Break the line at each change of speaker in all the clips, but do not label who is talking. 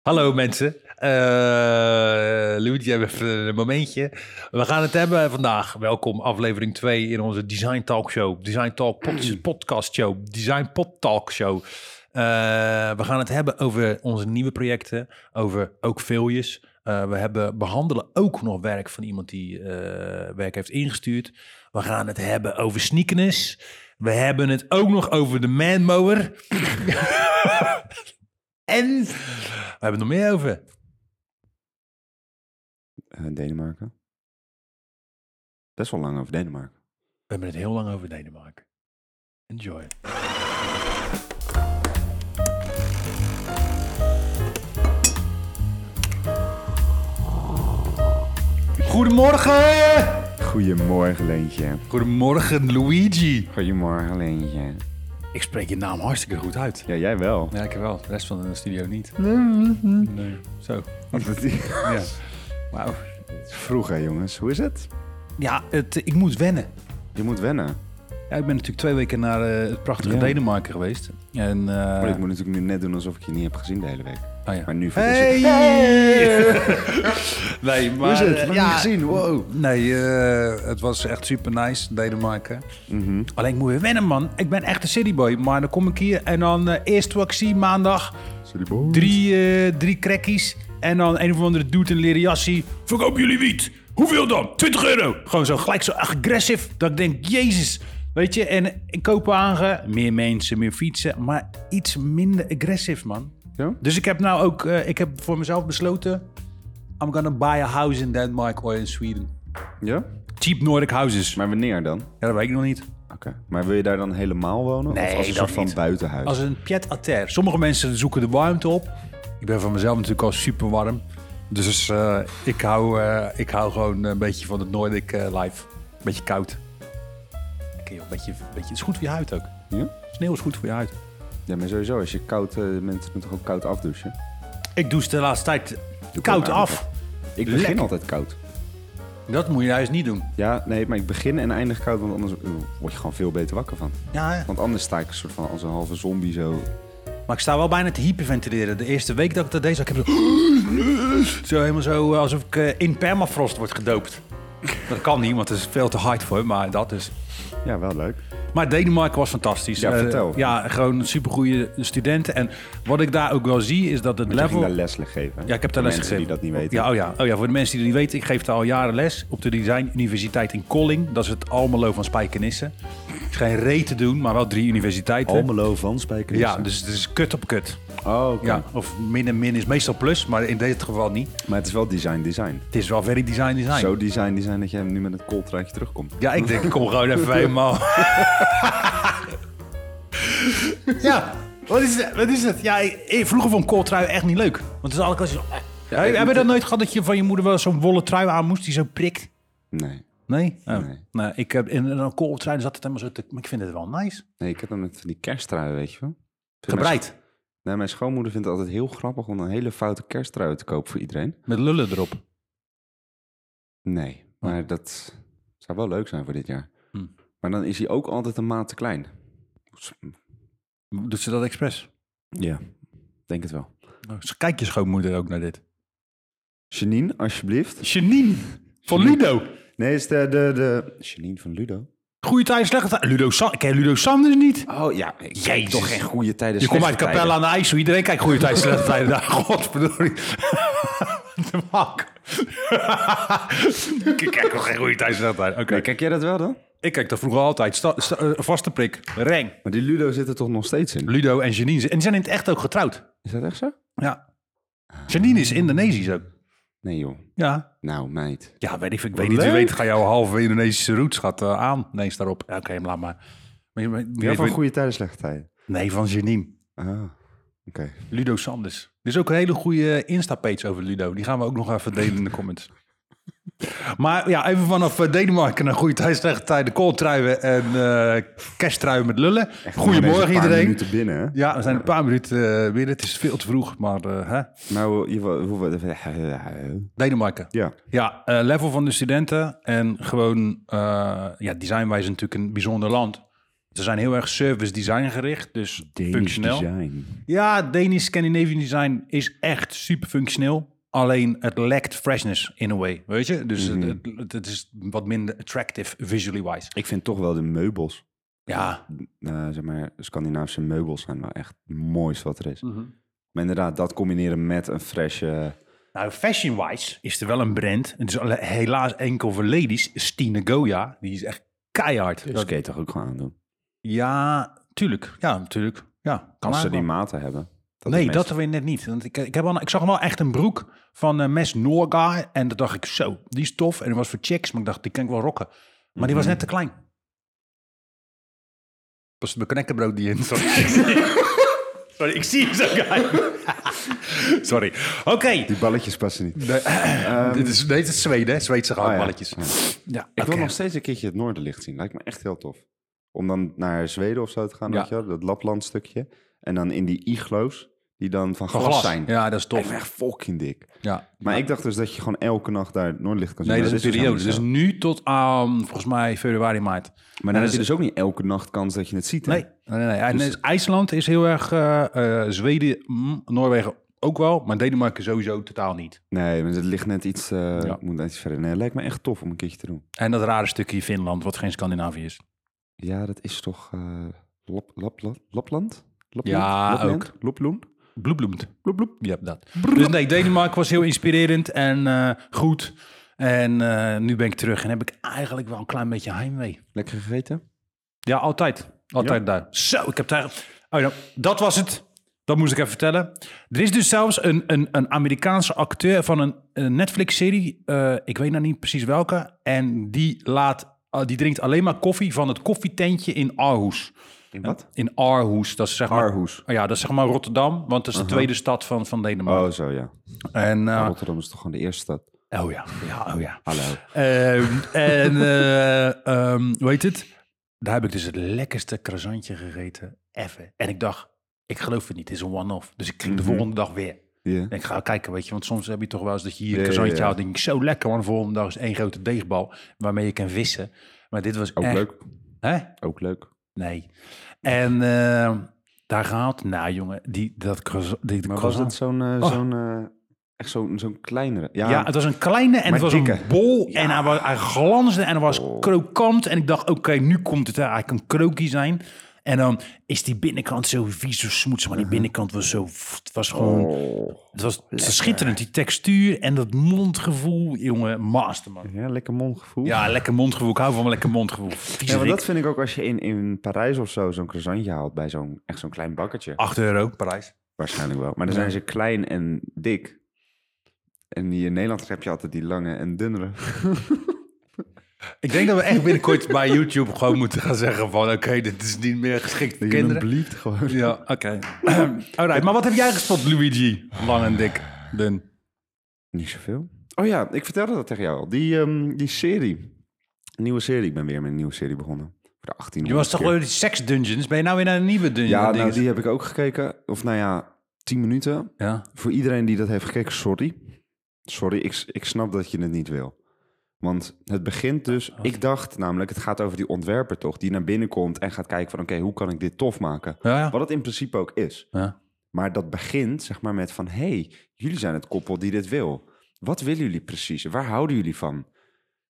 Hallo mensen. Eh Louis, jij hebt even een momentje. We gaan het hebben vandaag. Welkom, aflevering 2 in onze Design Talk Show. Design Talk pod- Podcast Show. Design Pod Talk Show. Eh, we gaan het hebben over onze nieuwe projecten. Over ook veeljes. Eh, we hebben, behandelen ook nog werk van iemand die eh, werk heeft ingestuurd. We gaan het hebben over sneakiness. We hebben het ook nog over de manmower. En we hebben het nog meer over.
Eh, Denemarken. Best wel lang over Denemarken.
We hebben het heel lang over Denemarken. Enjoy. Goedemorgen!
Goedemorgen, Leentje.
Goedemorgen, Luigi.
Goedemorgen, Leentje.
Ik spreek je naam hartstikke goed uit.
Ja, jij wel.
Ja, ik wel. De rest van de studio niet. Nee. Zo. Ja. Wauw.
Vroeg, hè, jongens. Hoe is het?
Ja, het, ik moet wennen.
Je moet wennen.
Ja, ik ben natuurlijk twee weken naar eh, het prachtige
Ja.
Denemarken geweest. En, eh,
Maar ik moet natuurlijk nu net doen alsof ik je niet heb gezien de hele week.
oh ja.
Maar nu vergis
Hey!
ik.
nee, maar...
Hoe is het?
eh,
Lang niet
ja,
gezien. Wow.
nee, eh, het was echt super nice, Denemarken.
Mhm.
Alleen ik moet weer wennen, man. Ik ben echt een cityboy. Maar dan kom ik hier en dan eh, eerst wat ik zie maandag... Drie, eh drie crackies en dan een of andere dude in een leren jassie. Verkoop jullie wiet. Hoeveel dan? 20 euro. Gewoon zo gelijk zo agressief dat ik denk, jezus. Weet je, en in Kopenhagen, meer mensen, meer fietsen, maar iets minder agressief, man.
Ja?
Dus ik heb nou ook, eh, ik heb voor mezelf besloten, I'm gonna buy a house in Denmark or in Sweden.
Ja?
Cheap Nordic houses.
Maar wanneer dan? Oké.
Ja, dat weet ik nog niet.
Maar wil je daar dan helemaal wonen?
Nee,
of als een
dat
soort van
niet.
buitenhuis?
Als een pied à terre. Sommige mensen zoeken de warmte op. Ik ben van mezelf natuurlijk al super warm. Dus eh, ik, hou, eh, ik hou gewoon een beetje van het Nordic eh, life. Beetje koud. Lekker joh, beetje, beetje, het is goed voor je huid ook.
Ja?
Sneeuw is goed voor je huid.
ja, maar sowieso. Als je koud... eh, mensen moeten gewoon koud afdouchen.
Ik douche de laatste tijd koud
ook
af.
Ik begin
Lekker.
altijd koud.
Dat moet je juist niet doen.
Ja, nee, maar ik begin en eindig koud, want anders eh, word je gewoon veel beter wakker van.
Ja, hè.
Want anders sta ik een soort van als een halve zombie zo.
maar ik sta wel bijna te hyperventileren. De eerste week dat ik dat deed, zag ik heb zo... zo helemaal zo eh, alsof ik eh, in permafrost word gedoopt. Dat kan niet, want het is veel te hard voor, maar dat is...
Ja, wel leuk.
Maar Denemarken was fantastisch.
Ja,
Eh,
vertel.
ja, gewoon supergoeie studenten. En wat ik daar ook wel zie, is dat het
Jij ging
level...
daar les geven.
Ja, ik heb
Voor
daar les
mensen
gegeven.
die dat niet weten.
Ja, oh ja. oh ja, voor de mensen die het niet weten, ik geef daar al jaren les op de Design Universiteit in Colling. Dat is het Almelo van Spijkenisse. Het is geen reet te doen, maar wel drie universiteiten.
Almelo van Spijkenissen.
Ja, dus het is kut op kut.
Oh, oké.
Ja, of min en min is meestal plus, maar in dit geval niet.
Maar het is wel design, design.
Het is wel very design design.
Zo design, design dat jij nu met het kooltraadje terugkomt.
Ja, ik denk, ik kom gewoon even helemaal. ja, wat is, het? wat is het? Ja, ik- ik- vroeger vond ik kooltrui echt niet leuk. Want het is altijd zo... Heb je- heb je dat nooit gehad dat je van je moeder wel zo'n wollen trui aan moest die zo prikt?
Nee.
Nee? Oh.
Nee.
Nou, ik heb in een kooltrui zat het helemaal zo te... Maar ik vind het wel nice.
Nee, ik heb dat met van die kersttruien, weet je wel. Vind mijn
Gebreid.
sch- Nee, mijn schoonmoeder vindt het altijd heel grappig om een hele foute kersttrui te kopen voor iedereen.
Met lullen erop.
Nee, maar dat zou wel leuk zijn voor dit jaar.
Oh. Hm.
Maar dan is hij ook altijd een maat te klein.
Doet ze dat expres?
Ja, denk het wel.
Kijk Oh, je schoonmoeder ook naar dit.
Janine, alsjeblieft.
Janine van
Janine.
Ludo.
Nee, is de, de, de... Janine van Ludo.
Goeie tijd, slechte tijd. Ludo San... Ik ken Ludo Sanders niet.
Oh ja, ik
Jezus.
heb toch geen goede tijden.
Je komt uit
slechte
Capella aan de IJssel. Iedereen kijkt goede tijd, slechte tijden. Nou, godverdorie. De mak. ik kijk nog geen goede tijd, slechte tijden. Oké.
tijden. Nee, kijk jij dat wel dan?
Ik kijk dat vroeger altijd. Sta, sta- eh, vaste prik. Reng.
Maar die Ludo zit er toch nog steeds in?
Ludo en Janine. En die zijn in het echt ook getrouwd.
Is dat echt zo?
Ja. Janine is Indonesisch ook.
Nee joh.
Ja.
Nou meid.
Ja, weet ik, ik weet niet. Wie
Leuk.
weet, ga jouw halve Indonesische roots gaat, eh, aan. Nee, is daarop. Ja, Oké, laat maar. Maar je- maar je
Ja,
weet-
van goede tijden, slechte tijden.
Nee, van Janine.
Ah, oké.
Ludo Sanders. Er is ook een hele goede eh, Insta-page over Ludo. Die gaan we ook nog even delen in de comments. Maar ja, even vanaf eh, Denemarken naar goede tijd, slechte tijd. De kooltruien en eh kersttruien met lullen. Goedemorgen iedereen.
minuten binnen hè?
Ja, we zijn een paar minuten eh, binnen. Het is veel te vroeg, maar eh, hè?
Nou, je wil- hoe we...
Denemarken.
Ja.
Ja, eh, level van de studenten en gewoon... eh ja, designwijze natuurlijk een bijzonder land. Ze zijn heel erg service design gericht, dus
Danish
functioneel.
design.
Ja, Danish Scandinavian design is echt super functioneel. Alleen het lekt freshness in a way, weet je? Dus het- het, het, is wat minder attractive visually wise.
Ik vind toch wel de meubels,
Ja.
eh, zeg maar, Scandinavische meubels zijn wel echt het mooiste wat er is. Maar inderdaad, dat combineren met een fresh... eh,
Nou, fashion-wise is er wel een brand. Het is alle- helaas enkel voor ladies. Stine Goya, die is echt keihard.
dus
Dat-
kan je toch ook gewoon aandoen?
ja, tuurlijk. Ja, natuurlijk. Ja, kan
Als ze
eigenlijk
die
wel.
maten hebben.
nee,
is
dat weer net niet. Want ik, ik, heb wel, ik zag wel echt een broek van eh, Mes Norga. En dat dacht ik, zo, die is tof. En die was voor chicks, maar ik dacht, die kan ik wel rocken. Maar die was net te klein. Was het mijn knekkenbrood die in Sorry, Sorry ik zie hem zo guy. Sorry. Oké.
Die balletjes passen niet.
dit is, nee, het is Zweden, hè? Zweedse
gehaktballetjes.
gehaktballetjes. ja.
Oh Ik wil
oké.
nog steeds een keertje het Noorderlicht zien. Lijkt me echt heel tof. Om dan naar Zweden of zo te gaan,
Ja.
weet je wel, dat Lapland stukje. En dan in die iglo's, die dan van glas, zijn.
Ja, dat is
Lijkt me
tof.
echt fucking dik.
Ja.
Maar ik dacht dus dat je gewoon elke nacht daar het Noorderlicht kan zien.
Nee, dat
Maar
is een
dus
periode. Dus
helemaal niet
nu tot aan, volgens mij, februari, maart.
zo. Maar dan heb je dus ook niet elke nacht kans dat je het ziet. hè?
Nee, nee, nee. En dus IJsland is heel erg, eh, eh, Zweden, mm, Noorwegen ook wel, maar Denemarken sowieso totaal niet.
Nee, maar het ligt net iets, eh,
Ja.
moet net iets verder. Nee, het lijkt me echt tof om een keertje te doen.
En dat rare stukje Finland, wat geen Scandinavië is.
Ja, dat is toch eh, Lap, Lap, Lap, Lapland? Lapland?
Ja,
Lapland? Loploen?
Bloebloemd. Bloebloem. Ja, dat. Dus nee, Denemarken was heel inspirerend en eh, goed. En eh, nu ben ik terug en heb ik eigenlijk wel een klein beetje heimwee.
Lekker gegeten?
Ja, altijd. Altijd daar. Zo, ik heb daar... Oh ja, dat was het. Dat moest ik even vertellen. Er is dus zelfs een, een, een Amerikaanse acteur van een, een Netflix-serie. eh, ik weet nou niet precies welke. En die, laat, ah, die drinkt alleen maar koffie van het koffietentje in Aarhus.
In wat?
In Aarhus. Dat is zeg maar,
Aarhus.
Oh ja, dat is zeg maar Rotterdam. Want dat is de tweede stad van, van Denemarken.
Oh, zo ja.
En, eh,
Rotterdam is toch gewoon de eerste stad?
oh ja. ja, oh ja.
Hallo.
Ehm, en eh ehm, hoe heet het? Daar heb ik dus het lekkerste croissantje gegeten ever. En ik dacht, ik geloof het niet, het is een one-off. Dus ik ging
Mhm.
de volgende dag weer.
Ja.
En ik ga kijken, weet je, want soms heb je toch wel eens dat je hier
Ja,
een
ja,
croissantje
ja.
houdt. en denk ik, zo lekker, want de volgende dag is één grote deegbal waarmee je kan vissen. Maar dit was
Ook
echt...
leuk.
Hè?
Ook leuk.
Nee. En eh, daar gehaald, nou jongen, die, dat croissant... Die
Maar was
croissant-
dat zo'n... eh,
Oh.
zo'n eh, echt zo'n zo'n kleinere? Ja,
Ja, het was een kleine en
Maar
het was
dikke. Oh.
een bol. En hij, was, hij glansde en hij was krokant. En ik dacht, oké, nu komt het. Hij kan krookie zijn. En dan is die binnenkant zo vies of smoets. Maar die
Mhm.
binnenkant was zo... Het was gewoon...
Oh,
het was schitterend, die textuur en dat mondgevoel. Jongen, masterman.
ja lekker mondgevoel.
Ja, lekker mondgevoel. Ik hou van lekker mondgevoel. Vies
Ja, maar dat vind ik ook als je in, in Parijs of zo zo'n croissantje haalt bij zo'n echt zo'n klein bakkertje.
8 euro, Parijs.
Waarschijnlijk wel. Maar dan zijn ze klein en dik. En hier in Nederland heb je altijd die lange en dunnere.
Ik denk dat we echt binnenkort bij YouTube gewoon moeten gaan zeggen van... Oké, dit is niet meer geschikt voor kinderen.
blieft gewoon.
Ja, oké. Alright, maar wat heb jij gespot, Luigi? Lang en dik, dun.
Niet zoveel. Oh ja, ik vertelde dat tegen jou al. Die, ehm, die serie. Een nieuwe serie. Ik ben weer met een nieuwe serie begonnen. Voor de 18
Je was toch wel die Sex Dungeons? Ben je nou weer naar een nieuwe dungeon?
Ja, nou,
Dinges?
die heb ik ook gekeken. Of nou ja, 10 minuten.
ja.
Voor iedereen die dat heeft gekeken, sorry. Sorry, ik, ik snap dat je het niet wil. Want het begint dus... Ik dacht namelijk, het gaat over die ontwerper toch... die naar binnen komt en gaat kijken van... oké, hoe kan ik dit tof maken?
Ja, ja.
Wat het in principe ook is.
Ja.
Maar dat begint zeg maar met van... hé, hey, jullie zijn het koppel die dit wil. Wat willen jullie precies? Waar houden jullie van?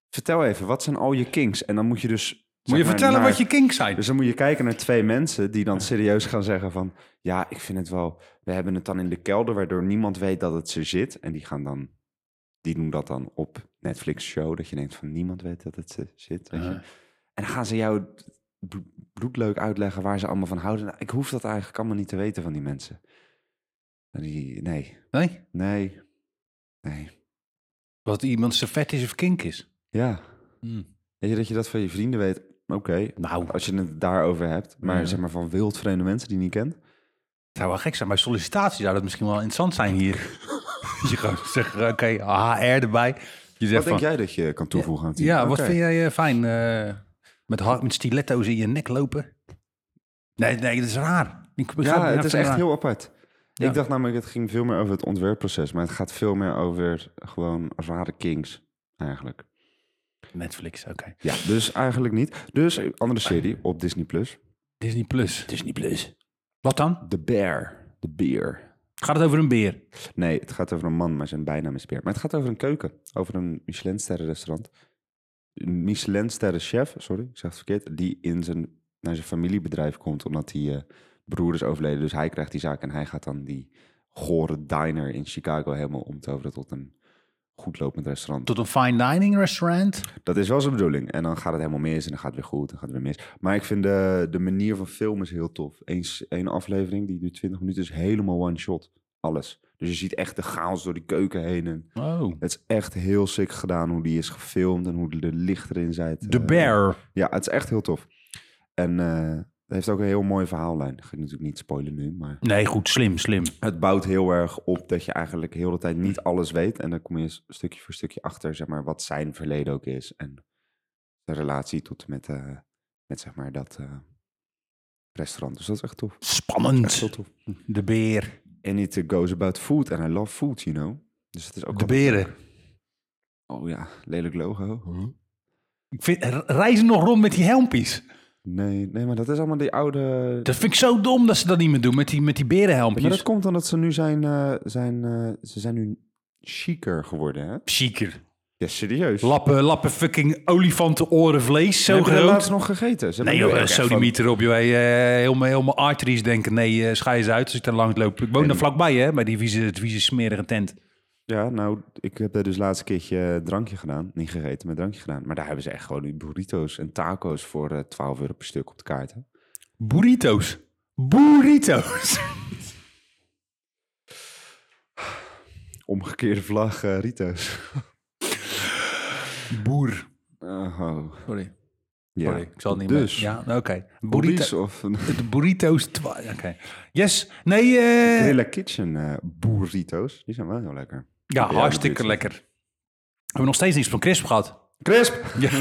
Vertel even, wat zijn al je kinks? En dan moet je dus...
Moet
zeg
je
maar,
vertellen
naar-
wat je kink zijn?
dus dan moet je kijken naar twee mensen die dan serieus gaan zeggen van... Ja, ik vind het wel... We hebben het dan in de kelder, waardoor niemand weet dat het ze zit. En die gaan dan... Die doen dat dan op Netflix show. Dat je denkt van niemand weet dat het ze zit. Weet je?
Ja.
En dan gaan ze jou bl- bloedleuk uitleggen waar ze allemaal van houden. Nou, ik hoef dat eigenlijk allemaal niet te weten van die mensen. Nou, Die, nee,
Nee?
nee, nee.
Wat iemand zijn vet is of kink is.
Ja, weet je dat je dat van je vrienden weet? Oké,
Nou, dat
als je het daarover hebt. Maar
Ja.
zeg maar van wildvreemde mensen die je niet kent.
zou wel gek zijn. Bij sollicitatie zou dat misschien wel interessant zijn hier. je gaat zeggen, oké, HR erbij. Je zegt
Wat denk
van,
jij dat je kan toevoegen aan het team?
ja, wat
Oké.
vind jij eh, fijn? eh, met, hard, met stiletto's in je nek lopen? Nee, nee, dat is raar. Ik begrijp-
Ja, het is
vind
echt
raar.
heel apart.
Ja.
Ik dacht namelijk, het ging veel meer over het ontwerpproces. Maar het gaat veel meer over gewoon rare kings, eigenlijk.
Netflix, oké.
Ja, dus eigenlijk niet. Dus eh, andere serie op Disney+. Plus.
Disney Plus.
is niet plus.
Wat dan?
De bear. De beer.
Gaat het over een beer?
Nee, het gaat over een man, maar zijn bijnaam is beer. Maar het gaat over een keuken. Over een Michelinsterren restaurant. Een Michelinsterren chef, sorry, ik zeg het verkeerd. Die in zijn, naar zijn familiebedrijf komt omdat die eh, broer is overleden. Dus hij krijgt die zaak en hij gaat dan die gore diner in Chicago helemaal omtoveren tot een goedlopend restaurant.
Tot een fine dining restaurant?
Dat is wel zijn bedoeling. En dan gaat het helemaal mis en dan gaat het weer goed en gaat het weer mis. Maar ik vind de, de manier van filmen is heel tof. Eens één aflevering, die duurt 20 minuten, is helemaal one shot. Alles. Dus je ziet echt de chaos door die keuken heen. En
Oh.
het is echt heel sick gedaan hoe die is gefilmd en hoe de licht erin zit.
De
Eh,
bear.
Ja, het is echt heel tof. En eh, het heeft ook een heel mooie verhaallijn. Dat ga ik natuurlijk niet spoilen nu, maar...
Nee, goed. Slim, slim.
Het bouwt heel erg op dat je eigenlijk heel de tijd niet alles weet. En dan kom je s- stukje voor stukje achter, zeg maar, wat zijn verleden ook is. En de relatie tot en met, eh, met zeg maar, dat eh, restaurant. Dus dat is echt tof. Echt heel
Spannend.
tof.
De beer.
And it goes about food. And I love food, you know. Dus het is ook
De
wel-
beren.
Oh ja, lelijk logo.
Ik vind, re- reizen nog rond met die helmpjes.
Nee, nee, maar dat is allemaal die oude...
Dat vind ik zo dom dat ze dat niet meer doen met die, met die
Ja,
berenhelmpjes.
maar dat komt omdat ze nu zijn... eh, zijn eh, ze zijn nu chiquer geworden, hè?
Chiquer.
Ja, serieus.
Lappen, lappen fucking olifantenoren vlees, zo
Heb je dat
groot.
laatst nog gegeten? Ze
Nee
hebben nu
joh, eh,
ook echt van-
sodemiet erop. Joh. Hey, eh, helemaal, helemaal arteries denken, nee, eh schei eens uit als ik daar langs loop. Ik woon daar vlakbij, hè, bij die vieze, het vieze smerige tent.
Ja, nou, ik heb daar dus laatst keertje drankje gedaan. Niet gegeten, maar drankje gedaan. Maar daar hebben ze echt gewoon die burrito's en taco's voor eh, 12 euro per stuk op de kaart. Hè?
Burritos. Burritos.
Omgekeerde vlag, eh, Rito's.
Boer.
Oh,
Sorry.
ja.
Sorry, ik zal het niet
dus,
meer. Ja, oké.
Burrito's
Burrito,
of een
de burritos. twa- Oké. Yes. Nee, eh
Grilla Kitchen eh burrito's. Die zijn wel heel lekker.
ja,
Ja,
hartstikke
burrito.
lekker. We hebben nog steeds niks van crisp gehad.
Crisp!
Nee,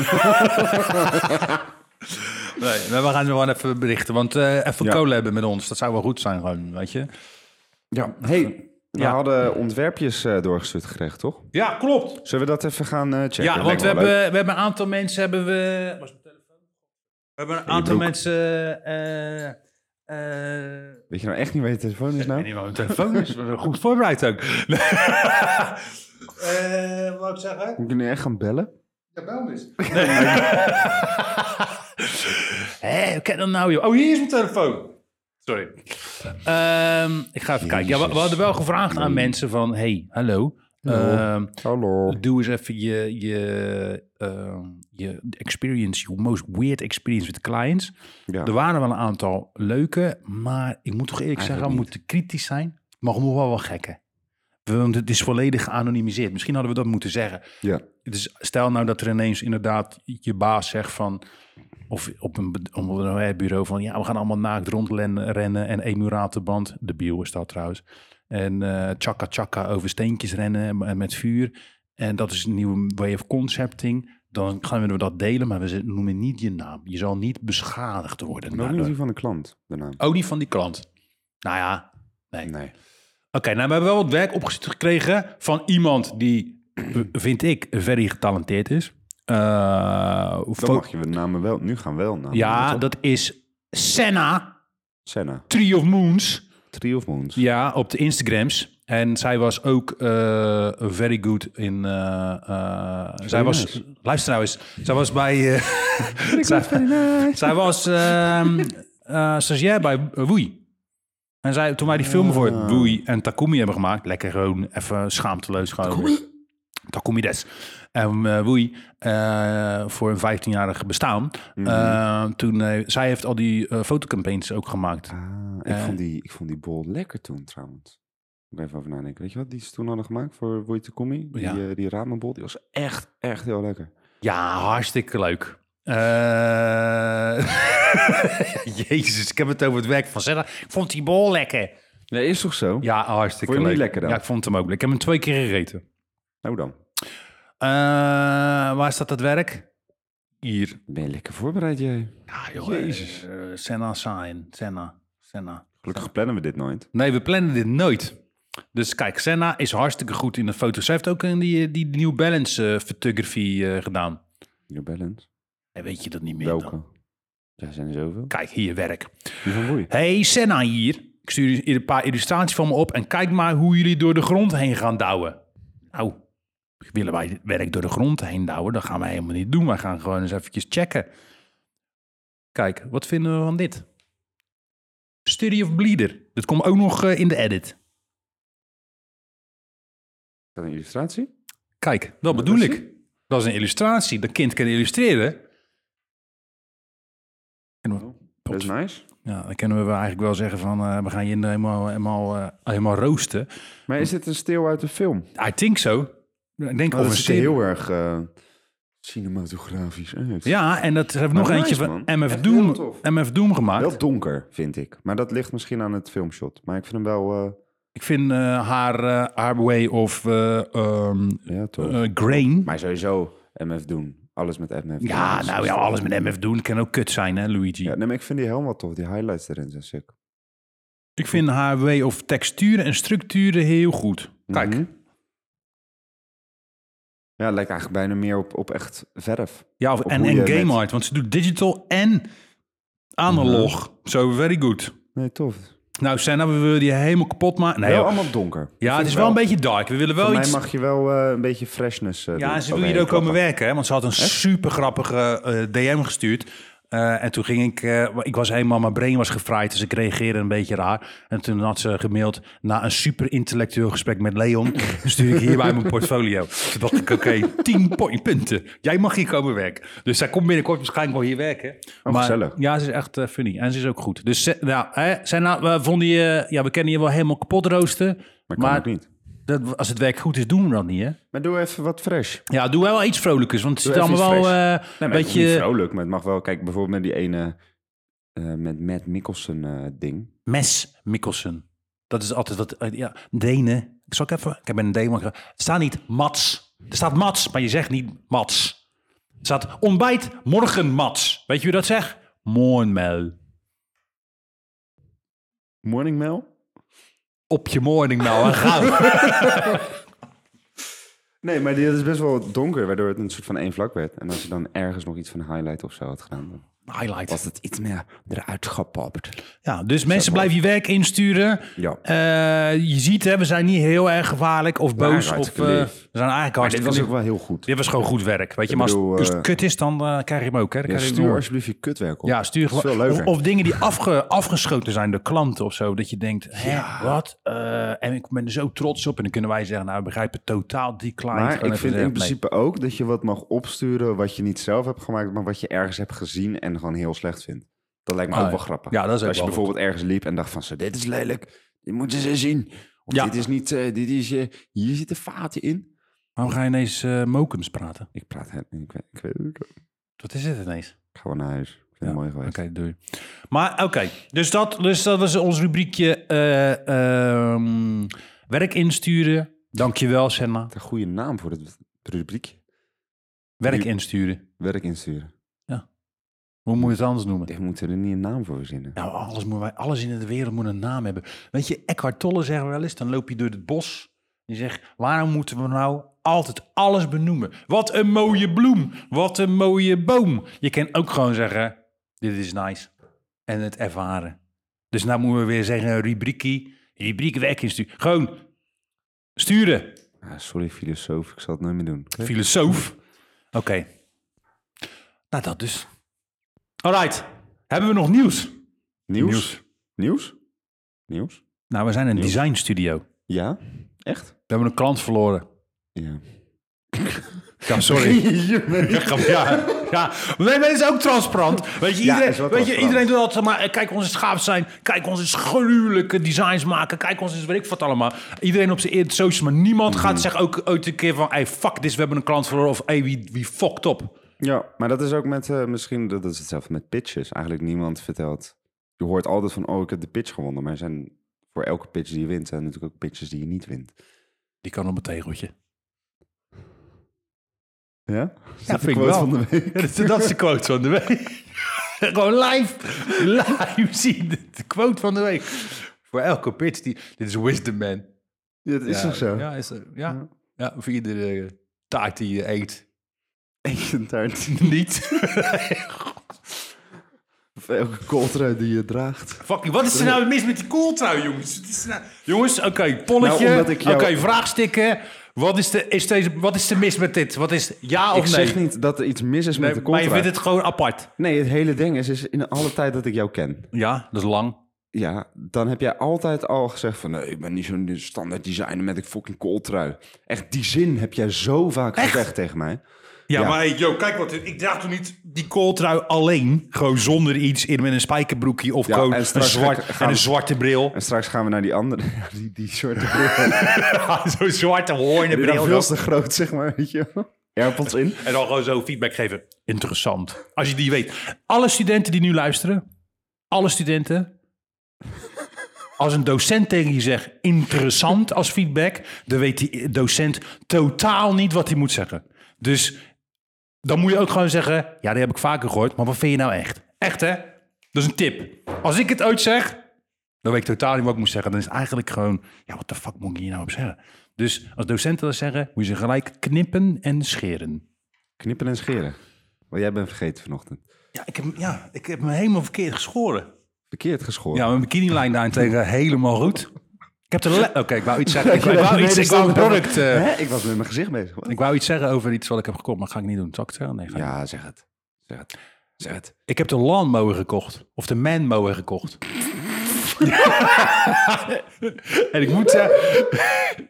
maar we gaan ze gewoon even berichten. Want eh even
Ja.
cola hebben met ons, dat zou wel goed zijn gewoon, weet je.
Ja, hey, we
Ja.
hadden ontwerpjes eh, doorgestuurd gekregen, toch?
Ja, klopt.
Zullen we dat even gaan eh, checken?
Ja, want
Lijkt me
we
wel
hebben,
leuk.
we hebben een aantal mensen hebben we. Was mijn telefoon? We hebben een aantal
broek.
mensen. eh, eh,
Weet je nou echt niet waar je telefoon is nou?
ik weet niet waar mijn telefoon is. maar Goed voorbereid ook. Eh wat ik zeggen?
Moet ik nu echt gaan bellen?
Hé, hoe kan dat nou, joh? Oh, hier is mijn telefoon. Sorry. Ehm, ik ga even kijken. Ja, we, we hadden wel gevraagd aan mensen van... Hey, hallo.
Hallo.
Ehm,
Hallo.
Doe eens even je, je, ehm, je experience, your most weird experience with clients.
Ja.
Er waren wel een aantal leuke, maar ik moet toch eerlijk
Eigenlijk
zeggen, we
niet.
moeten kritisch zijn. Maar nog wel wel gekke. Want het is volledig geanonimiseerd. Misschien hadden we dat moeten zeggen.
Ja.
Dus stel nou dat er ineens inderdaad je baas zegt van... of op een, be- op een bureau van... ja, we gaan allemaal naakt rondrennen rennen en emuratenband... de bio is dat trouwens... en eh tjaka tjaka over steentjes rennen en- en met vuur... en dat is een nieuwe way of concepting... dan gaan we dat delen, maar we z- noemen niet je naam. Je zal niet beschadigd worden.
Nog niet
daardoor.
die van de klant, de naam.
Ook niet van die klant. Nou ja, nee.
Nee.
Oké, nou, we hebben wel wat werk opgezet gekregen van iemand die, v- vind ik, very getalenteerd is. Eh,
Dan
fo-
mag je de namen wel. Nu gaan wel namen.
ja,
toch?
dat is Senna,
Senna.
Tree of Moons.
Tree of Moons.
Ja, op de Instagrams. En zij was ook eh, very good in... eh, eh, zij was...
nice.
Luister nou eens. Zij was bij... eh, zij, zij was ehm eh, stagiair bij Woei. En zij, toen wij die filmen voor Woei en Takumi hebben gemaakt... Lekker gewoon even schaamteloos gewoon. Takumi Des. En eh Woei, eh, voor een 15-jarig bestaan. Eh, toen, eh, zij heeft al die eh, fotocampagnes ook gemaakt.
Ah, ik,
Eh.
vond die, ik vond die bol lekker toen trouwens. Moet ik even over nadenken. Weet je wat die ze toen hadden gemaakt voor Woei Takumi? Die,
Ja.
eh, die ramenbol, die was echt, echt heel lekker.
Ja, hartstikke leuk. Eh, Jezus, ik heb het over het werk van Senna. Ik vond die bol lekker.
Nee, is toch zo?
Ja, hartstikke
Vond je hem
leuk.
niet lekker dan?
Ja, ik vond hem ook lekker. Ik heb hem twee keer gegeten.
Nou dan.
Eh, waar staat dat werk? Hier.
Ben je lekker voorbereid, jij?
Ja, joh.
Jezus.
eh, eh, Senna sign. Senna. Senna.
Gelukkig plannen we dit nooit.
Nee, we plannen dit nooit. Dus kijk, Senna is hartstikke goed in de foto's. Zij heeft ook in die, die New Balance eh photography eh, gedaan.
Your balance.
En weet je dat niet meer dan?
Welke? Daar zijn er zoveel.
Kijk, hier werk.
Die van Woei.
Hey, Senna hier. Ik stuur jullie een paar illustraties van me op en kijk maar hoe jullie door de grond heen gaan douwen. Nou, willen wij het werk door de grond heen douwen? Dat gaan wij helemaal niet doen. Wij gaan gewoon eens eventjes checken. Kijk, wat vinden we van dit? Study of Bleeder. Dat komt ook nog eh, in de edit.
Is dat een illustratie?
Kijk, dat
dat
bedoel
is
ik. Dat is een illustratie. Dat kind kan illustreren. En we-
Dat is nice.
Ja, dan kunnen we eigenlijk wel zeggen van... eh, we gaan je helemaal, helemaal, eh, helemaal roosten.
Maar is dit een stil uit de film?
I think so. Ik denk
Oh,
of
dat
een
is
serie.
heel erg eh, cinematografisch uit.
Ja, en dat hebben we nog
Maar
eentje
nice,
van
man.
MF
Echt
Doom,
heel tof.
MF Doom gemaakt.
Wel donker, vind ik. Maar dat ligt misschien aan het filmshot. Maar ik vind hem wel... eh,
Ik vind eh, haar, eh, haar Way of eh, ehm,
ja, toch.
eh, Grain.
maar sowieso MF Doen. Alles met MF Doen.
Ja,
is-
nou ja, alles met MF Doom kan ook kut zijn, hè, Luigi.
Ja, nee, maar ik vind die helm wel tof. Die highlights erin zijn sick.
Ik vind haar Way of texturen en structuren heel goed. Kijk,
Mhm. Ja, het lijkt eigenlijk bijna meer op, op echt verf.
ja, of,
Of
en,
hoe
en
je
game
met-
art, want ze doet digital en analog.
Mhm.
Zo, very good.
Nee, tof.
Nou, Senna, we willen die helemaal kapot maken. Nee,
wel
joh.
allemaal donker.
ja, het is wel een beetje dark. We willen wel
Voor
iets...
mij mag je wel eh, een beetje freshness eh,
Ja,
doen.
en ze wil hier
Overheen
ook komen
klappen.
werken, hè? want ze had een super grappige eh, DM gestuurd. Eh, en toen ging ik, eh, ik was helemaal, mijn brain was gefraaid, dus ik reageerde een beetje raar. En toen had ze gemaild, na een super intellectueel gesprek met Leon, stuur ik hierbij mijn portfolio. Toen dacht ik, oké, 10 po- punten. Jij mag hier komen werken. Dus zij komt binnenkort waarschijnlijk wel hier werken.
Oh, gezellig.
Ja, ze is echt eh, funny en ze is ook goed. Dus ze- nou, hè, zijn nou, we vonden je, ja, we kennen je wel helemaal kapot roosten.
Maar
Maar,
kan ook niet.
dat, als het werk goed is, doen we dat niet, hè?
Maar doe even wat fresh.
Ja, doe wel iets vrolijkers, want het
Doe
zit
even
allemaal wel eh,
iets Nee,
een
maar beetje... niet
beetje
vrolijk, maar het mag wel. Kijk, bijvoorbeeld met die ene... eh, met Matt Mikkelsen eh, ding.
mes Mikkelsen. Dat is altijd wat, eh, ja, Denen. Ik zal ik even, ik heb een Deen Het staat niet Mats. Er staat Mats, maar je zegt niet Mats. Er staat ontbijt morgen Mats. Weet je hoe dat zegt? Morgenmel.
Morning Mail?
Op je morningmel. en gauw.
Nee, maar die, dat is best wel donker, waardoor het een soort van één vlak werd. En als je dan ergens nog iets van highlight of zo had gedaan, dan was
Highlight.
het iets meer eruit gepapt.
Ja, dus mensen blijven je werk insturen.
Ja.
Eh, je ziet, hè, we zijn niet heel erg gevaarlijk of boos.
eigenlijk
Of, eh, we
lief.
zijn eigenlijk
Maar Dus dit
hartstikke
was
lief.
ook wel heel goed.
Dit was gewoon goed werk. Weet je,
Ik
maar als
bedoel,
als
eh,
het kut is, dan eh, krijg je hem ook. Hè? Dan
Ja,
krijg je hem
stuur
door.
alsjeblieft je kutwerk op.
ja, stuur
is
gewoon.
veel
Of,
leuker.
of dingen die afge, afgeschoten zijn door klanten of zo. Dat je denkt, hè, wat? Eh, en ik ben er zo trots op. En dan kunnen wij zeggen, nou, we begrijpen totaal die client. Gewoon
Maar ik
even
vind
zeggen,
in principe ook dat je wat mag opsturen wat je niet zelf hebt gemaakt, maar wat je ergens hebt gezien en gewoon heel slecht vindt. Dat lijkt me
Ah,
ook wel grappig.
ja, dat is ook
Als je
wel
bijvoorbeeld ergens liep en dacht van, zo, dit is lelijk, dit moeten ze zien. Of
Ja.
dit is niet, eh, dit is, eh, hier zitten vaten in.
nee. Waarom ga je ineens eh mokums praten?
Ik praat het, ik weet, ik weet het. Ik
Wat is dit ineens?
ga gewoon naar huis. Ik vind het mooi geweest.
Oké, doei. Maar oké, dus, dat, dus dat was ons rubriekje eh, ehm, werk insturen. Dankjewel, Senna.
Wat Een goede naam voor het rubriekje.
Werk insturen.
Werk insturen.
Hoe moet je het anders noemen?
Dit moeten we er niet een naam voor verzinnen.
Nou, alles, moet, wij- alles in de wereld moet een naam hebben. Weet je, Eckhart Tolle zegt wel eens, dan loop je door het bos. En je zegt, waarom moeten we nou altijd alles benoemen? Wat een mooie bloem, wat een mooie boom. Je kan ook gewoon zeggen, dit is nice. En het ervaren. Dus nou moeten we weer zeggen, rubriekie, rubriek werk insturen. Gewoon sturen,
Ah, sorry filosoof, ik zal het nooit meer doen.
filosoof. Oké. Nou, dat dus. All right, hebben we nog nieuws?
Nieuws?
Nieuws.
Nieuws? Nieuws? Nieuws?
Nou, we zijn een design studio.
Ja? Echt?
We hebben een klant verloren.
Ja.
Ja, sorry. ja, ja, ja. Nee, maar het is ook transparant. Weet je,
Ja,
iedereen,
is wel
weet je,
transparant.
iedereen doet altijd maar... eh, Kijk, onze schaap zijn. Kijk, onze gruwelijke designs maken. Kijk, ons is weet ik wat allemaal. Iedereen op zijn eer- socials. Maar niemand gaat zeggen ook ooit een keer van... Hey, fuck this, we hebben een klant verloren. Of hey, wie, wie fucked op.
Ja, maar dat is ook met, eh, misschien, dat is hetzelfde met pitches. Eigenlijk niemand vertelt. Je hoort altijd van, oh, ik heb de pitch gewonnen. Maar er zijn voor elke pitch die je wint, zijn er natuurlijk ook pitches die je niet wint.
Die kan op een tegeltje.
Ja?
Ja, vind ik wel.
Van de week.
Ja, dat, dat is de quote van de week. Gewoon live, live zien. De quote van de week. Voor elke pitch. Die, dit is Wisdom Man.
Ja, dat is
ja,
toch zo?
Ja, is, er- ja. Ja. voor iedere eh, taart die je eet.
Eentje taart.
Niet.
elke kooltrui die je draagt.
Fucking, wat is er nou mis met die koeltrui, jongens? Het is nou- Jongens, oké, polletje.
Nou, omdat ik jou-
Oké, vraagstikken. Wat is, de, is deze, wat is er mis met dit? Wat is ja
ik
of nee?
zeg niet dat er iets mis is
Nee,
met de
maar je
kooltrui.
vindt het gewoon apart.
Nee, het hele ding is, is in alle tijd dat ik jou ken...
Ja, dat is lang.
Ja, dan heb jij altijd al gezegd van... Nee, ik ben niet zo'n standaard designer met een fucking kooltrui. Echt, die zin heb jij zo vaak gezegd tegen mij.
Ja,
Ja.
maar hey, yo, kijk wat. Ik draag toen niet die kooltrui alleen. Gewoon zonder iets. In, met een spijkerbroekje of
Ja,
gewoon
en
een,
straks
zwart,
ga- gaan
en een
we-
zwarte bril.
En straks gaan we naar die andere... Die, die soort bril.
Zo'n zwarte
Die dan
hoornenbril.
veel
nog.
te groot, zeg maar, weet je wel. Airpods in.
En dan gewoon zo feedback geven. Interessant. Als je die weet. Alle studenten die nu luisteren. Alle studenten. Als een docent tegen je zegt interessant als feedback. Dan weet die docent totaal niet wat hij moet zeggen. Dus dan moet je ook gewoon zeggen. Ja, die heb ik vaker gehoord. Maar wat vind je nou echt? Echt hè? Dat is een tip. Als ik het ooit zeg. Dan weet ik totaal niet wat ik moet zeggen. Dan is het eigenlijk gewoon, ja, wat de fuck moet ik hier nou op zeggen? Dus als docenten dat zeggen, moet je ze gelijk knippen en scheren.
Knippen en scheren. Want jij bent vergeten vanochtend.
Ja, ik heb, ja, ik heb me helemaal verkeerd geschoren.
Verkeerd geschoren.
Ja, mijn bikinilijn daarentegen helemaal goed. Ik heb de le- Oké, ik wou iets zeggen. Ik,
Nee,
wou
nee,
iets,
dat
ik wou een
stond-
product... eh,
Hè? Ik was met mijn gezicht bezig.
ik wou iets zeggen over iets wat ik heb gekocht, maar dat ga ik niet doen. Zal ik het zeggen? Nee, ga ik niet.
Ja, zeg het. Zeg het. Zeg het.
Ik heb de lawnmower gekocht. Of de manmower gekocht. en ik moet zeggen...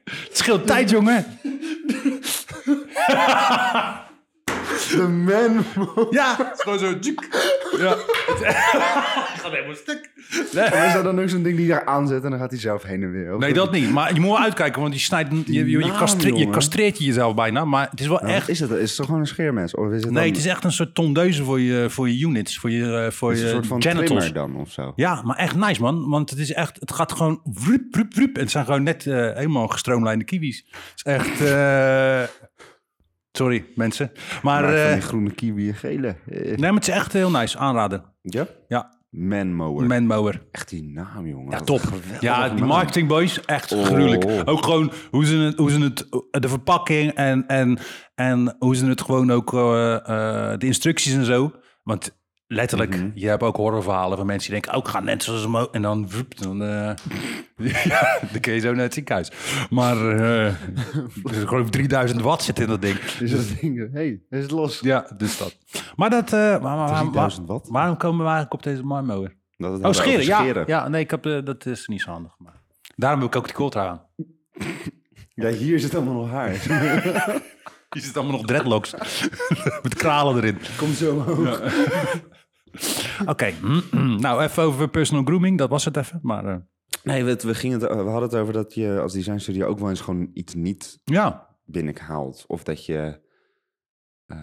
het scheelt tijd, jongen.
De man.
Ja, het is gewoon zo... tjuk. Ja. Het gaat helemaal stuk.
Is dat dan ook zo'n ding die je daar aanzet en dan gaat hij zelf heen en weer? Of-
Nee, dat niet. Maar je moet wel uitkijken, want je snijdt... Je, je, je,
naam,
castre- je
jongen.
castreert je jezelf bijna, maar het is wel
Wat
echt...
Is het, is het toch gewoon een scheermes? Of is het
Nee,
dan,
het is echt een soort tondeuze voor je, voor je units, voor je, eh, voor
is
je
een soort van
genitals.
trimmer dan of zo?
Ja, maar echt nice man, want het is echt, het gaat gewoon wrup, wrup, wrup. En het zijn gewoon net eh, helemaal gestroomlijnde kiwis. Het is echt, eh, sorry mensen. Maar,
Maar van
eh,
die groene kiwi en gele. Eh.
nee, maar het is echt heel nice, aanraden.
Ja?
Ja,
Manmower.
manmower.
Echt die naam, jongen.
Ja,
Wat
top.
een geweldige
Ja, die
naam.
marketing boys, echt
Oh.
gruwelijk. Ook gewoon hoe ze het, hoe ze het de verpakking en, en, en hoe ze het gewoon ook, eh, eh, de instructies en zo. Want letterlijk,
Mhm.
je hebt ook horrorverhalen van mensen die denken, ook gaan net zoals hem En dan, woep, dan, eh, ja, dan kun je zo naar het ziekenhuis. Maar eh er zit gewoon 3000 watt zit in dat ding.
Dus dat ding, hey, is het los?
Ja, dus dat. Maar dat, eh, maar- maar, maar-
3000 watt?
waarom komen we eigenlijk op deze marmower?
Dat het
Oh,
hebben
scheren,
over
ja, ja. Nee, ik heb, eh, dat is niet zo handig. Maar... Daarom heb ik ook die kooltrui aan.
Ja, hier zit allemaal nog haar.
Hier zitten allemaal nog dreadlocks. Met kralen erin.
Kom zo omhoog.
Oké, nou even over personal grooming. Dat was het even. Maar eh,
Nee, we, we, gingen het, we hadden het over dat je als designstudio ook wel eens gewoon iets niet
ja,
binnenhaalt. Of dat je eh,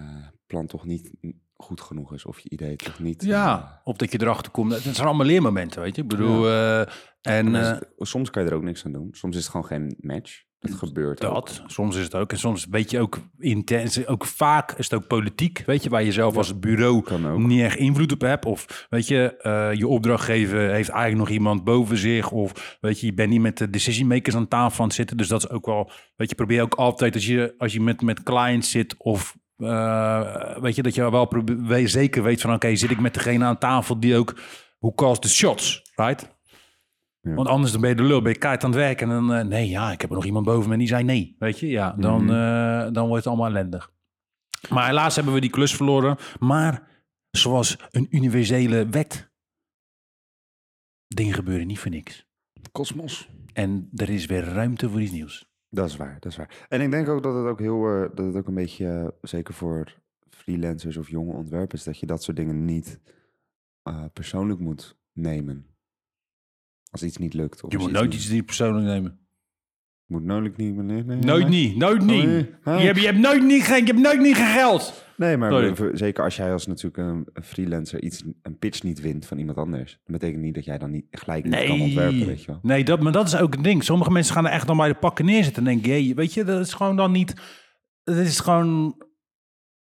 plan toch niet goed genoeg is. Of je idee toch niet...
ja, op dat je erachter komt. Het zijn allemaal leermomenten, weet je. Ik bedoel, eh, en
eh,
eh,
en is- soms kan je er ook niks aan doen. Soms is het gewoon geen match. Dat gebeurt ook.
dat, soms is het ook. En soms weet je ook intens, ook vaak is het ook politiek, weet je. Waar je zelf als bureau
Kan ook.
niet echt invloed op hebt. Of weet je, eh, je opdrachtgever heeft eigenlijk nog iemand boven zich. Of weet je, je bent niet met de decision makers aan tafel aan het zitten. Dus dat is ook wel, weet je, probeer ook altijd als je, als je met, met clients zit of... eh, weet je, dat je wel probe- we- zeker weet van... oké, zit ik met degene aan tafel die ook... hoe calls the shots, right?
Ja.
Want anders dan ben je de lul, ben je kaart aan het werk... en dan, eh, nee, ja, ik heb er nog iemand boven me en die zei nee. Weet je, ja, dan, eh, dan wordt het allemaal ellendig. Maar helaas hebben we die klus verloren. Maar zoals een universele wet. Dingen gebeuren niet voor niks.
Kosmos.
En er is weer ruimte voor iets nieuws.
Dat is waar, dat is waar. En ik denk ook dat het ook heel... eh, dat het ook een beetje, eh, zeker voor freelancers of jonge ontwerpers... dat je dat soort dingen niet eh, persoonlijk moet nemen. Als iets niet lukt. Of
Je
als
moet
iets
nooit
niet-
iets die persoonlijk nemen.
Moet nooit niet... Nee, nee,
Nooit
nee.
niet, nooit niet.
Nee.
Je hebt, je hebt nooit niet geen, je hebt nooit niet gegeld.
Nee, maar
Sorry.
voor- zeker als jij als natuurlijk een, een freelancer iets, een pitch niet wint van iemand anders. Dat betekent niet dat jij dan niet gelijk niet kan ontwerpen, weet je wel.
nee dat, maar dat is ook een ding. Sommige mensen gaan er echt dan bij de pakken neerzetten en denken, jee, weet je, dat is gewoon dan niet, dat is gewoon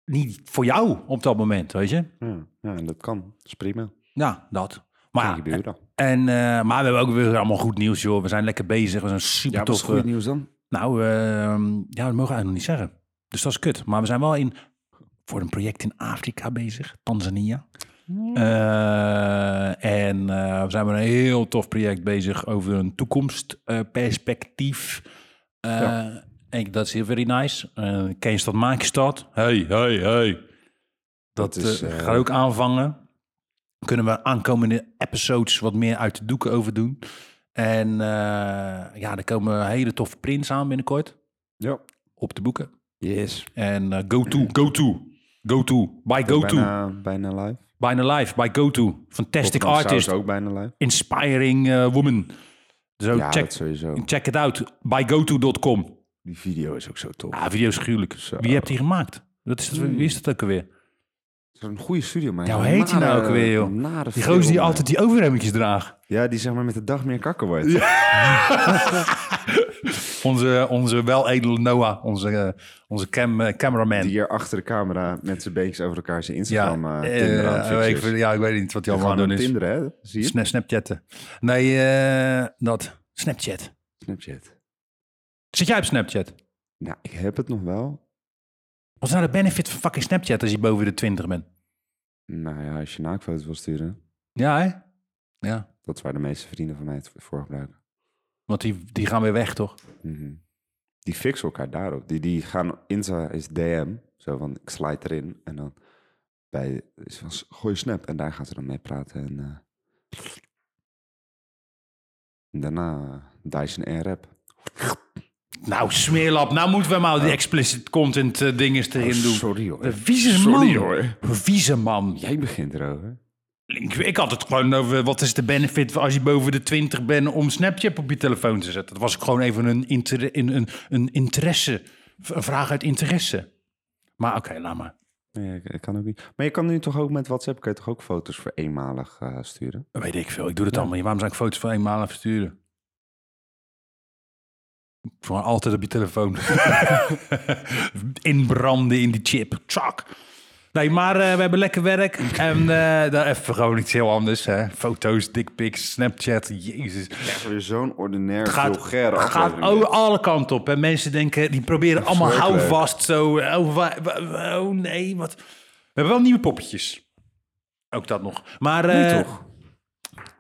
niet voor jou op dat moment, weet je?
Ja, ja, en dat kan. Dat is prima.
Ja, dat.
Kan
Maar,
gebeuren.
en, eh, maar we hebben ook weer allemaal goed nieuws, joh. We zijn lekker bezig. We zijn super tof.
nieuws dan?
Nou, ehm, ja, dat mogen we eigenlijk nog niet zeggen. Dus dat is kut. Maar we zijn wel in, voor een project in Afrika bezig, Tanzania. Eh, en eh, we zijn met een heel tof project bezig over een toekomstperspectief. Eh en ik- Dat is heel very nice. Eh ken je dat Maakstad? Hey, hey, hey. Dat,
Dat is,
eh,
eh,
gaat ook aanvangen. Kunnen we aankomende episodes wat meer uit de doeken over doen. En eh, ja, er komen hele toffe prints aan binnenkort
Ja.
op de boeken.
Yes.
En eh, go to, go to, go to, by go to.
bijna, bijna live.
Bijna live, by GoTo. Fantastic
Rotterdam Sound
artist,
is ook bijna live.
inspiring eh, woman. Zo,
Ja,
check,
dat sowieso.
check it out. By GoTo.com.
Die video is ook zo tof.
Ah, video is gruwelijk. Wie hebt die gemaakt? Dat is,
Hmm.
Wie is dat ook alweer?
Zo'n goede studio, maar
Ja, hoe heet die nou
nare-
ook weer, joh?
nare
Die gozer die
film.
altijd die overhemmetjes draagt.
Ja, die zeg maar met de dag meer kakker wordt.
Onze, onze weledele Noah, onze, eh, onze cam, eh, cameraman.
Die hier achter de camera met zijn beentjes over elkaar zijn
ja,
Instagram eh,
eh,
Tinder aan het fixen
ik,
is.
vind- ja, ik weet niet wat hij allemaal
Gewoon
aan het
op
doen is.
Tinder, hè? Zie je?
Sna- Snapchatten. Nee, eh, dat. Snapchat.
Snapchat.
Zit jij op Snapchat?
Nou, ik heb het nog wel.
Wat is nou de benefit van fucking Snapchat als je boven de 20 bent?
Nou ja, als je naaktfoto's wil sturen,
Ja, hè? Ja.
dat is waar de meeste vrienden van mij het voor gebruiken.
Want die, die gaan weer weg, toch?
Mhm. Die fixen elkaar daarop. Die, die gaan, Insta is DM, zo van ik slide erin en dan bij, is van, gooi je snap en daar gaan ze dan mee praten. En, eh, en daarna eh, Dyson Airwrap.
Nou, smeerlap. Nou moeten we maar die explicit content eh, dinges erin doen.
Oh, sorry hoor.
De vieze man.
Sorry, hoor.
Vieze man.
Jij begint erover.
Ik, ik had het gewoon over wat is de benefit als je boven de 20 bent om Snapchat op je telefoon te zetten. Dat was gewoon even een, inter, in, een, een interesse. V- Een vraag uit interesse. Maar oké, laat maar.
Nee, ik, ik kan ook niet. Maar je kan nu toch ook met WhatsApp kan je toch ook foto's voor eenmalig eh, sturen?
Weet ik veel. Ik doe dat allemaal niet. Waarom zou ik foto's van eenmaal versturen? Gewoon altijd op je telefoon. Inbranden in die chip. Tjak. Nee, maar eh, we hebben lekker werk. En eh, daar even gewoon iets heel anders. Hè. Foto's, dickpics, Snapchat. Jezus.
Echt weer zo'n ordinair
Het gaat, gaat o- alle kanten op. En mensen denken, die proberen allemaal
Verschrikkelijk.
houvast. Zo, oh, wa- wa- oh nee, wat. We hebben wel nieuwe poppetjes. Ook dat nog. Maar eh,
toch?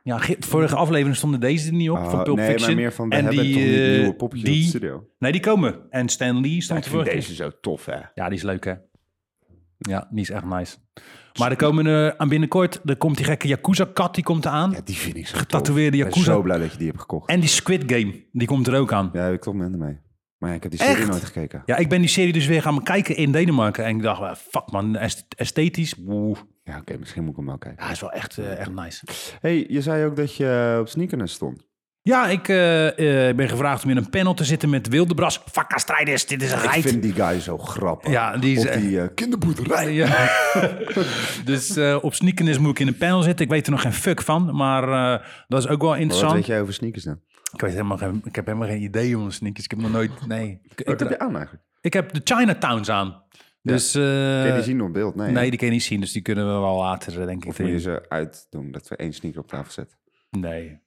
ja, ge- vorige aflevering stonden deze er niet op. van Pulp
Ah, nee,
Fiction.
maar meer van we
En
hebben toch niet
eh,
nieuwe popjes in de
die-
studio.
Nee, die komen. En Stan Lee stond
Ik
er
vind
vorige keer.
deze zo tof, hè?
Ja, die is leuk, hè? Ja, die is echt nice. Maar er komen eh, aan binnenkort, er komt die gekke Yakuza-kat, die komt aan.
Ja, die vind ik zo
Getatoeëerde
tof. Ik ben
Yakuza.
zo blij dat je die hebt gekocht.
En die Squid Game, die komt er ook aan.
Ja, ik klopt minder mee. Maar ja, ik heb die
Echt?
serie nooit gekeken.
Ja, ik ben die serie dus weer gaan kijken in Denemarken. En ik dacht, eh, fuck man, est- esthetisch. Woe.
Ja, oké, misschien moet ik hem wel kijken.
Ja, is wel echt, eh, echt nice.
hey, je zei ook dat je eh, op sneakers stond.
Ja, ik eh, eh, ben gevraagd om in een panel te zitten met Wildebras. Fakka strijders, dit is een
Ik
geit.
vind die guy zo grappig.
Ja, die is
Op die eh, kinderboerderij.
Ja. dus eh, op sneakernis moet ik in een panel zitten. Ik weet er nog geen fuck van, maar eh, dat is ook wel
Maar Wat
interessant.
weet jij over sneakers dan?
Ik, weet helemaal geen, ik heb helemaal geen idee om sneakers. Ik heb nog nooit... Nee. Ik,
Wat heb
ik,
je aan eigenlijk?
ik heb de Chinatowns aan. Dus... eh,
Kun je die zien op beeld? Nee, hè?
Nee, die kan je niet zien, dus die kunnen we wel later, eh, denk ik.
Of moet je ze uitdoen, dat we één sneaker op tafel zetten?
Nee.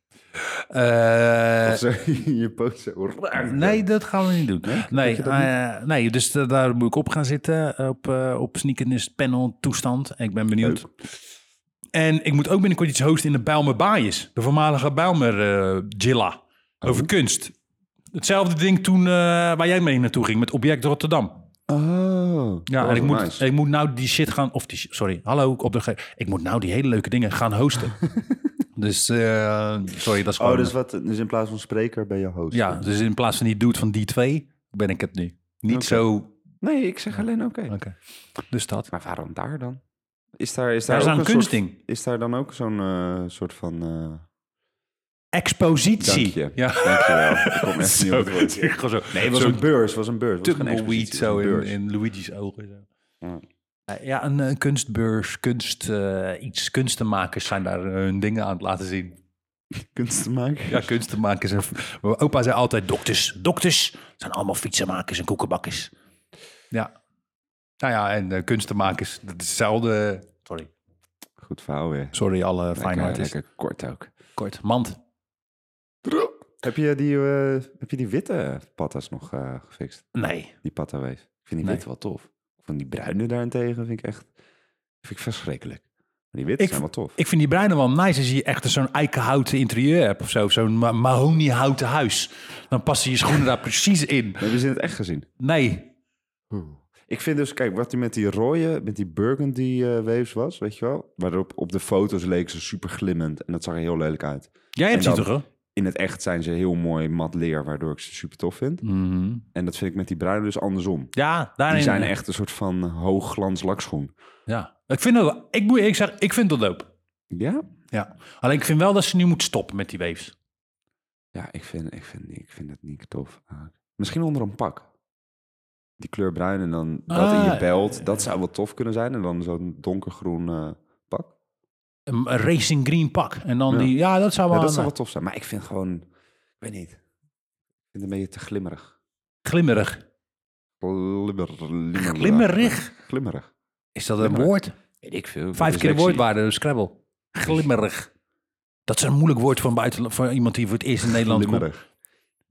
Eh,
Of zo in je poot zo raar.
nee, dat gaan we niet doen. Nee, nee,
je dat
eh, nee dus eh, daar moet ik op gaan zitten. Op, eh op sneakernist panel toestand. Ik ben benieuwd. En ik moet ook binnenkort iets hosten in de Bijlmer Baaiers. De voormalige Bijlmer eh, Gilla.
Oh.
Over kunst. Hetzelfde ding toen eh, waar jij mee naartoe ging met Object Rotterdam.
Oh,
Ja, en ik moet,
nice.
ik moet nou die shit gaan... Of die, shi- sorry, hallo, op de Ik moet nou die hele leuke dingen gaan hosten. dus eh, sorry, dat is gewoon...
Oh, dus, wat, dus in plaats van spreker ben je host?
Ja, dus in plaats van die dude van die twee ben ik het nu. Niet
Oké.
zo. Oké.
Nee, ik zeg alleen oké.
Dus dat.
Maar waarom daar dan? Is daar, is daar,
Daar is
ook
nou een
een soort-
kunstding.
is daar dan ook zo'n eh, soort van... eh
Expositie.
Dank je.
Ja.
Dankjewel. Ik kom echt niet
Zo,
op het woord.
gewoon zo.
Nee, het was
zo'n
een beurs. was een beurs. was geen
tumbleweed
expositie, het
zo
was een
in,
beurs.
in Luigi's ogen. Zo.
Ja.
Eh, Ja, een, eh, kunstbeurs, kunst, eh, iets. Kunstenmakers zijn daar eh, hun dingen aan het laten zien.
Kunst te maken.
Ja, kunstenmakers. En v- Mijn opa zei altijd dokters. Dokters zijn allemaal fietsenmakers en koekenbakkers. Ja. Nou ja, en eh, kunstenmakers, dat is hetzelfde. Sorry. eh,
Goed verhaal weer.
Sorry alle fine
Lekker,
artists.
lekker kort ook.
Kort. Mand.
Heb je die, eh, heb je die witte patas nog eh, gefixt?
Nee.
Die patawees. Ik vind die
Nee.
wit wel tof. Ik vond die bruine daarentegen vind ik echt vind ik verschrikkelijk. Maar die witte
Ik-
zijn wel tof.
Ik vind die bruine wel nice als je echt zo'n eikenhouten interieur hebt of zo. Zo'n ma- mahoniehouten huis. Dan passen je schoenen daar precies in.
Hebben ze in het echt gezien?
Nee.
Ik vind dus, kijk, wat hij met die rode, met die burgundy eh waves was, weet je wel? Waarop op de foto's leek ze super glimmend en dat zag er heel lelijk uit.
Jij hebt
En
ze
dan-
toch, hè?
In het echt zijn ze heel mooi mat leer, waardoor ik ze super tof
Mm.
vind. En dat vind ik met die bruine dus andersom.
Ja, daarin.
Mhm. Die zijn echt een soort van hoogglans lakschoen.
Ja. Ik vind dat wel- Ik moet eerlijk zeggen, ik vind dat dope.
Ja?
Ja. Alleen ik vind wel dat ze nu moet stoppen met die waves.
Ja, ik vind, ik vind, ik vind het niet tof. eigenlijk. Misschien onder een pak. Die kleur bruin en dan dat in
Ah.
je belt. Dat zou wel tof kunnen zijn. En dan zo'n donkergroen eh, pak.
Een een racing green pak. En dan
Ja.
die... Ja, dat zou
Ja,
wel...
dat zou wel tof zijn. Maar ik vind gewoon... Ik weet niet. Ik vind het een beetje te glimmerig.
Glimmerig.
Glimmer, glimmerig.
Glimmerig?
Glimmerig.
Is dat een
Glimmerig.
woord?
Weet ik veel.
Vijf keer de
Dyslexie.
woordwaarde, dus Scrabble. Glimmerig. Dat is een moeilijk woord voor, een buitenla- voor iemand die voor het eerst in Nederland komt.
Glimmerig.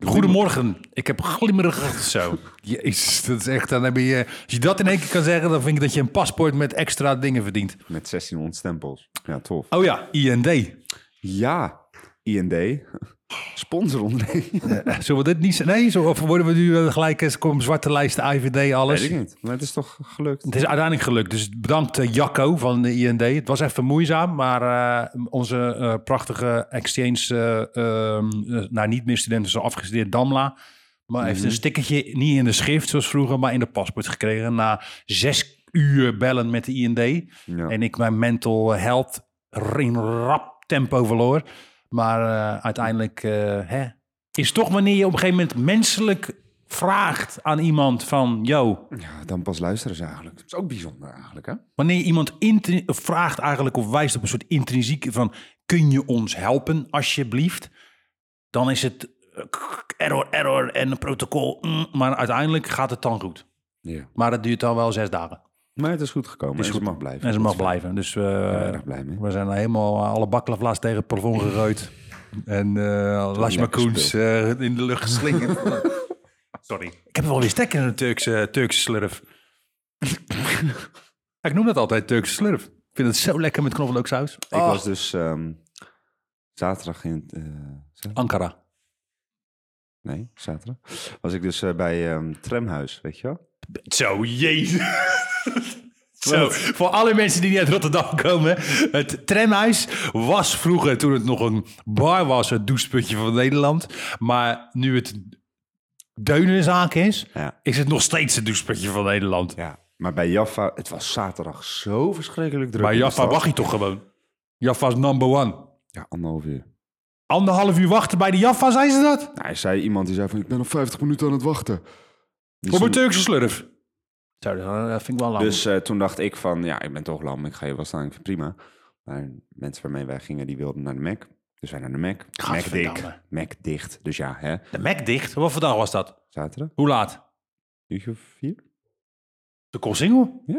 Goedemorgen, ik heb glimmerig zo. Jezus, dat is echt, dan heb je, eh, als je dat in één keer kan zeggen, dan vind ik dat je een paspoort met extra dingen verdient.
Met 1600 stempels. Ja, tof.
Oh ja, IND.
Ja, IND. Sponsor ondernemen.
Zullen we dit niet... Nee, zo, of worden we nu eh, gelijk eens, kom zwarte lijst, IVD, alles.
Weet ik niet. Maar het is toch gelukt.
Het is uiteindelijk gelukt. Dus bedankt eh, Jacco van de IND. Het was even moeizaam, maar eh, onze eh, prachtige exchange, eh, ehm, eh, nou niet meer studenten, zo afgestudeerd Damla. Maar heeft
Mhm.
een stickertje niet in de schrift zoals vroeger, maar in de paspoort gekregen. Na zes uur bellen met de IND.
Ja.
En ik mijn mental health in rap tempo verloor. Maar eh, uiteindelijk eh, hè, is toch wanneer je op een gegeven moment menselijk vraagt aan iemand van... Yo,
Ja, dan pas luisteren ze eigenlijk. Dat is ook bijzonder eigenlijk, hè?
Wanneer je iemand intri- of vraagt eigenlijk of wijst op een soort intrinsiek van... kun je ons helpen alsjeblieft? Dan is het eh, kk, error, error en een protocol. mm, maar uiteindelijk gaat het dan goed.
Ja.
Maar het duurt dan wel zes dagen.
Maar het is goed gekomen. en ze mag blijven.
En ze mag
Dat is-
blijven. Dus eh,
Ik ben er erg blij mee.
we zijn helemaal eh, alle baklavla's tegen het plafond gegooid. En eh Lashma
lekker
Koens eh, in de lucht geslingerd. Sorry. Ik heb wel weer stek in een Turkse, eh, Turkse slurf. ik noem dat altijd Turkse slurf. Ik vind het zo lekker met knoflooksaus.
Ik
Ah,
was dus ehm, zaterdag in... eh, za-
Ankara.
nee, zaterdag. Was ik dus eh, bij ehm Tramhuis, weet je wel?
Zo, jezus. Zo, voor alle mensen die niet uit Rotterdam komen. Het tramhuis was vroeger, toen het nog een bar was, het doucheputje van Nederland. Maar nu het deunenzaak is,
Ja.
is het nog steeds het doucheputje van Nederland.
ja. Maar bij Jaffa, het was zaterdag zo verschrikkelijk druk.
Maar
in de
Jaffa
stad.
wacht je toch gewoon? Jaffa's number one.
Ja, anderhalf uur.
Anderhalf uur wachten bij de Jaffa, zijn ze dat?
Nou, er zei iemand die zei van, ik ben al 50 minuten aan het wachten. Dus,
Op een
toen,
Turkse slurf. Zo, dat vind ik wel lang.
dus eh, toen dacht ik van, ja, ik ben toch lam, ik ga je wel staan, ik vind het prima. Maar mensen waarmee wij gingen, die wilden naar de Mac. Dus wij naar de Mac. Mac
Gadverdamme.
dik, Mac dicht. Dus ja, hè,
de Mac dicht. Wat voor dag was dat?
zaterdag.
Hoe laat?
uurtje of vier?
De Koolsingel?
Ja.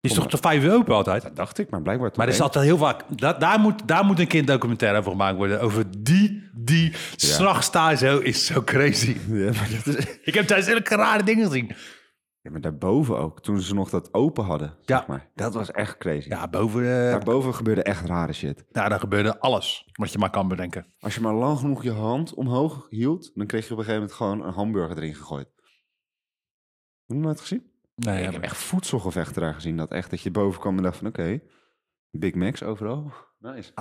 Die is toch tot vijf uur open altijd?
Dat dacht ik, maar blijkbaar toch
Maar er is
één.
altijd heel vaak. da- daar, moet, daar moet een keer een documentaire over gemaakt worden. Over die, die. S'nachts daar zo is zo crazy.
Ja, maar, dat is...
Ik heb daar zulke rare dingen gezien.
ja, maar daarboven ook, toen ze nog dat open hadden.
Ja.
Zeg maar. Dat was echt crazy.
Ja, boven. eh,
Daarboven gebeurde echt rare shit.
nou, daar gebeurde alles. Wat je maar kan bedenken.
Als je maar lang genoeg je hand omhoog hield, dan kreeg je op een gegeven moment gewoon een hamburger erin gegooid. Heb je dat nooit gezien?
Nee,
Ik heb echt voedselgevechten daar gezien. Dat echt, dat je boven kwam en dacht van, oké, Big Macs overal. Nice.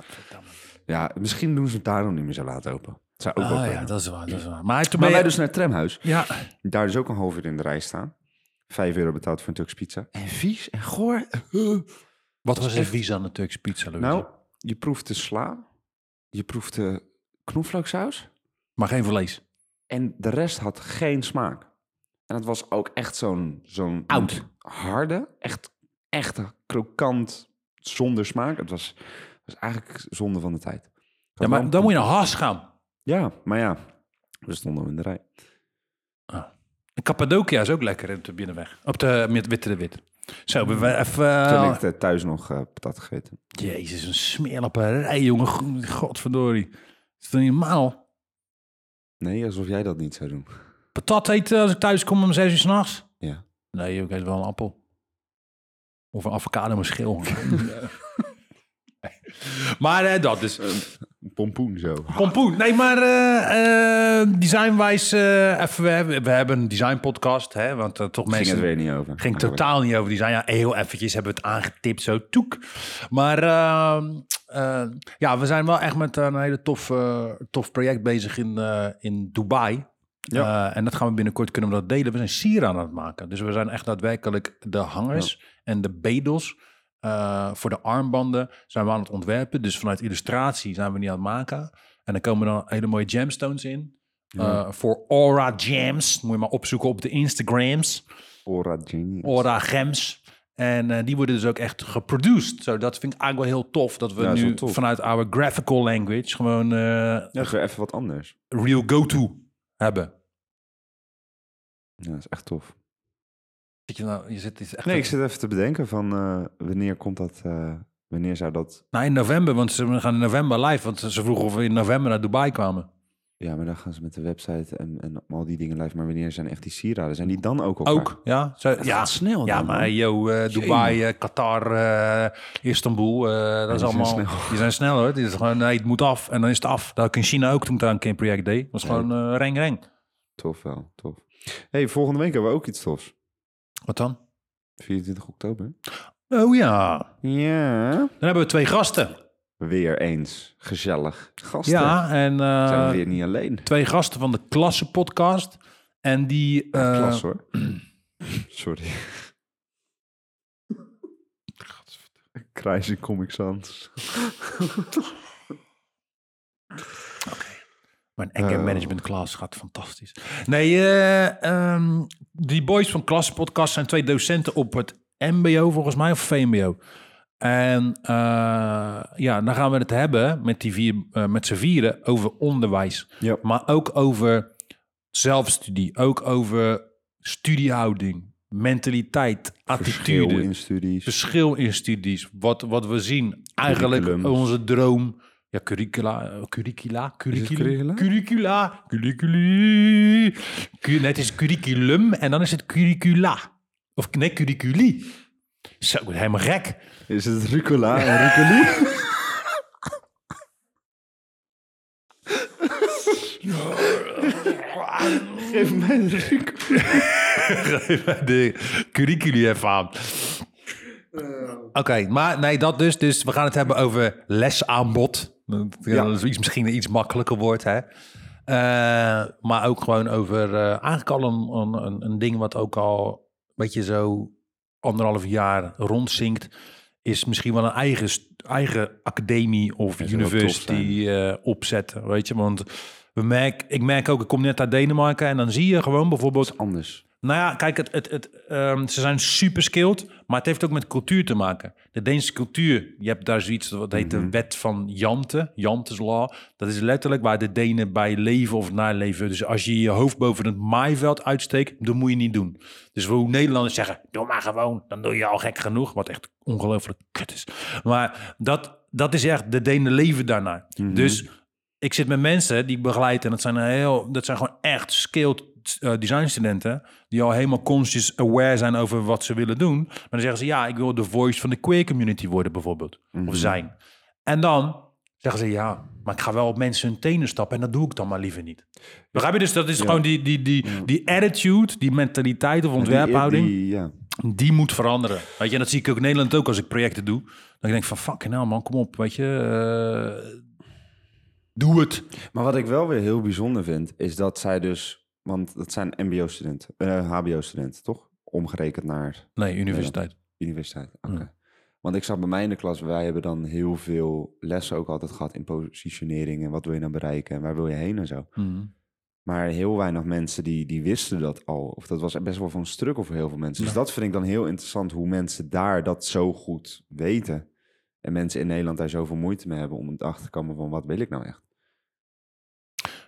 Ja, misschien doen ze het daarom niet meer zo laat open. Het zou ook wel
Ah, ja,
kunnen.
dat is waar. Dat is waar. Maar toen
Maar
ben
wij
je,
dus naar het tramhuis.
Ja,
Daar dus ook een half uur in de rij staan. Vijf euro betaald voor een Turks pizza. En vies en goor.
wat was de visa aan de Turkse pizza? Louise?
Nou, je proeft de sla. Je proeft de knoflooksaus.
maar geen vlees.
En de rest had geen smaak. En het was ook echt zo'n... zo'n
Oud.
Harde, echt, echt krokant, zonder smaak. Het was, was eigenlijk zonde van de tijd.
Ja, maar dan moet je naar Haas gaan.
Ja, maar ja. We stonden in de rij.
En Cappadocia is ook lekker op de binnenweg. Op de met Witte de Wit. Zo, we- we even.
Toen
eh,
heb ik eh, thuis nog eh, patat gegeten.
Jezus, een smeerlapperij, jongen. Go- Godverdorie. Is dat niet normaal?
Nee, alsof jij dat niet zou doen.
Patat eten als ik thuis kom om zes uur s'nachts?
Ja.
Nee, joh, ik eet wel een appel. Of een avocado met schil. Maar eh, dat dus.
Een pompoen zo.
Pompoen. Nee, maar eh, eh, designwijs... eh, even, we, hebben- we hebben een designpodcast, hè, want eh, toch
Ging
mensen...
het weer niet over. Oh,
Ging
Maar
totaal niet over design. Ja, heel eventjes hebben we het aangetipt, zo toek. Maar ehm, eh, ja, we zijn wel echt met een hele tof, eh, tof project bezig in, eh, in Dubai.
Ja.
Eh, en dat gaan we binnenkort kunnen we dat delen. We zijn sier aan het maken. Dus we zijn echt daadwerkelijk de hangers en de bedels. eh, voor de armbanden zijn we aan het ontwerpen. Dus vanuit illustratie zijn we niet aan het maken. En er komen dan hele mooie gemstones in.
Ja.
Eh, voor Aura Gems. Moet je maar opzoeken op de Instagrams.
Ora Genius.
Ora Gems. En eh, die worden dus ook echt geproduced. Zo, dat vind ik eigenlijk wel heel tof. Dat we
Ja, dat is
nu
wel tof.
vanuit our graphical language gewoon eh,
Ja, dat is weer even wat anders.
real go-to hebben.
Ja, dat is echt tof.
Zit je nou, je zit, is echt
Nee, ik zit even te bedenken van eh, wanneer komt dat... eh, wanneer zou dat...
Nou, in november, want ze gaan in november live. Want ze vroegen of we in november naar Dubai kwamen.
Ja, maar dan gaan ze met de website en, en al die dingen live. Maar wanneer zijn echt die sieraden? Zijn die dan ook op?
Ook, ja? Zo, ja.
gaat snel
Ja,
dan,
maar
man.
yo, eh, Dubai, eh, Qatar, eh, Istanbul, eh, dat is
die zijn
allemaal...
snel.
Die zijn snel, hoor. Het is gewoon, nee, het moet af. En dan is het af. Dat had ik in China ook toen ik daar een keer een project deed. Dat was gewoon eh, reng, reng.
Tof wel, tof. hey, volgende week hebben we ook iets tofs.
Wat dan?
24 oktober.
Oh ja,
Ja.
Dan hebben we twee gasten.
Weer eens gezellig. Gasten.
Ja, en eh,
Zijn we weer niet alleen.
twee gasten van de Klasse podcast. En die... eh,
Klas hoor. Sorry. Crazy Comic Sans.
Mijn enge
Oh.
management class gaat fantastisch. Nee, eh, ehm, die boys van Klasse podcast zijn twee docenten op het mbo volgens mij, of vmbo. En eh, ja, dan gaan we het hebben met, die vier, eh, met z'n vieren over onderwijs.
Ja.
Maar ook over zelfstudie, ook over studiehouding, mentaliteit,
Verschil
attitude. Dus-
in studies.
verschil in studies. Wat, wat we zien, eigenlijk
Curriculums.
onze droom. Ja, curricula, eh, curricula, curricula,
curricula?
curricula, curriculi. Cu- nee, het is curriculum en dan is het curricula. Of nee, curriculi. Zo, ik ben helemaal gek.
Is het Rucola en Rucoli? Geef mij de Rucola.
Geef mij de curriculi even aan. Oké, maar nee, dat dus. Dus we gaan het hebben over lesaanbod. Ja,
Ja.
Dat is iets, misschien een iets makkelijker woord, hè. Eh, maar ook gewoon over eh, eigenlijk al een, een- een, een ding wat ook al een beetje zo anderhalf jaar rondzinkt. Is misschien wel een eigen, st- eigen academie of
Dat zou wel tof
university eh, opzetten, weet je. Want we merk, ik merk ook, ik kom net uit Denemarken en dan zie je gewoon bijvoorbeeld
Anders.
nou ja, kijk, het, het, het, ehm, ze zijn super skilled, maar het heeft ook met cultuur te maken. De Deense cultuur, je hebt daar zoiets, wat heet de wet van Jante, Jantes law. Dat is letterlijk waar de Denen bij leven of naleven. Dus als je je hoofd boven het maaiveld uitsteekt, dat moet je niet doen. Dus hoe Nederlanders zeggen, doe maar gewoon, dan doe je al gek genoeg. Wat echt ongelooflijk kut is. Maar dat, dat is echt, de Denen leven daarnaar. Dus ik zit met mensen die ik begeleid en dat zijn, een heel, dat zijn gewoon echt skilled eh, designstudenten die al helemaal conscious aware zijn over wat ze willen doen. Maar dan zeggen ze, ja, ik wil de voice van de queer community worden bijvoorbeeld. Of zijn. En dan zeggen ze, ja, maar ik ga wel op mensen hun tenen stappen en dat doe ik dan maar liever niet. Begrijp je? Dus dat is gewoon die, die, die, die attitude, die mentaliteit of ontwerphouding
Die- die- ja.
die moet veranderen. Weet je, en dat zie ik ook in Nederland ook als ik projecten doe. Dan denk ik van, fucking hell man, kom op, weet je. eh, doe het.
Maar wat ik wel weer heel bijzonder vind, is dat zij dus... Want dat zijn mbo-studenten, eh, hbo-studenten, toch? Omgerekend naar
Nee, universiteit.
Universiteit, oké. Want ik zat bij mij in de klas, wij hebben dan heel veel lessen ook altijd gehad in positionering en wat wil je nou bereiken en waar wil je heen en zo.
Mhm.
Maar heel weinig mensen die, die wisten dat al. Of dat was best wel van struggle voor heel veel mensen. Dus
Ja.
dat vind ik dan heel interessant hoe mensen daar dat zo goed weten. En mensen in Nederland daar zoveel moeite mee hebben om erachter te komen van wat wil ik nou echt.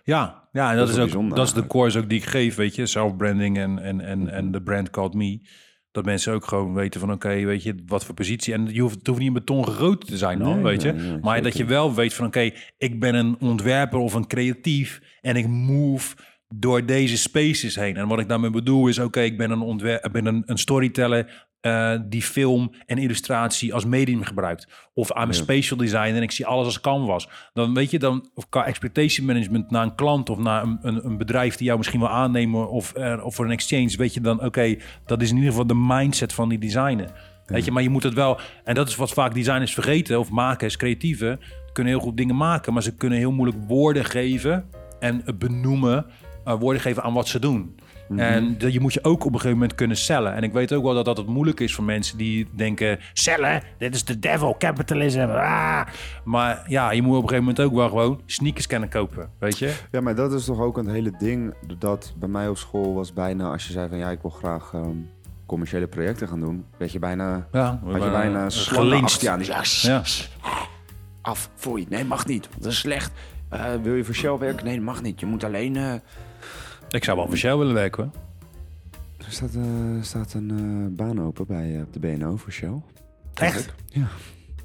Ja, ja, en dat,
is
is
wel
ook
bijzonder
dat is de
eigenlijk. Mhm.
course ook die ik geef, weet je, self-branding en, en, en, en de brand called me. Dat mensen ook gewoon weten van, oké, weet je, wat voor positie. En je hoeft, het hoeft niet in beton gegoten te zijn, dan,
Nee,
weet je.
nee, nee,
maar
zeker
dat je
niet.
wel weet van, oké, ik ben een ontwerper of een creatief en ik move door deze spaces heen. En wat ik daarmee bedoel is, oké, ik ben een ontwerper, ben een, een storyteller eh, die film en illustratie als medium gebruikt. Of I'm a spatial designer en ik zie alles als canvas. Dan weet je, dan of qua expectation management naar een klant of naar een, een, een bedrijf die jou misschien wil aannemen of, eh, of voor een exchange, weet je dan, oké, dat is in ieder geval de mindset van die designer. Weet je, maar je moet het wel, en dat is wat vaak designers vergeten of makers, creatieven, kunnen heel goed dingen maken, maar ze kunnen heel moeilijk woorden geven en het benoemen, eh, woorden geven aan wat ze doen. En dat je moet je ook op een gegeven moment kunnen cellen. En ik weet ook wel dat dat het moeilijk is voor mensen die denken... cellen, dit is de devil, capitalism. Ah. Maar ja, je moet op een gegeven moment ook wel gewoon sneakers kunnen kopen, weet je?
Ja, maar dat is toch ook een hele ding dat bij mij op school was bijna als je zei van ja, ik wil graag ehm, commerciële projecten gaan doen, werd je bijna,
Ja,
had je bijna
gelinst.
gelinst aan. Dus ja, sss,
Ja.
af, foei, nee mag niet, want dat is slecht. Eh, wil je voor Shell werken? Nee, dat mag niet. Je moet alleen. eh,
Ik zou wel voor Shell willen werken, hoor.
Er staat, eh, er staat een eh, baan open bij eh, op de BNO voor Shell.
Echt?
Ja.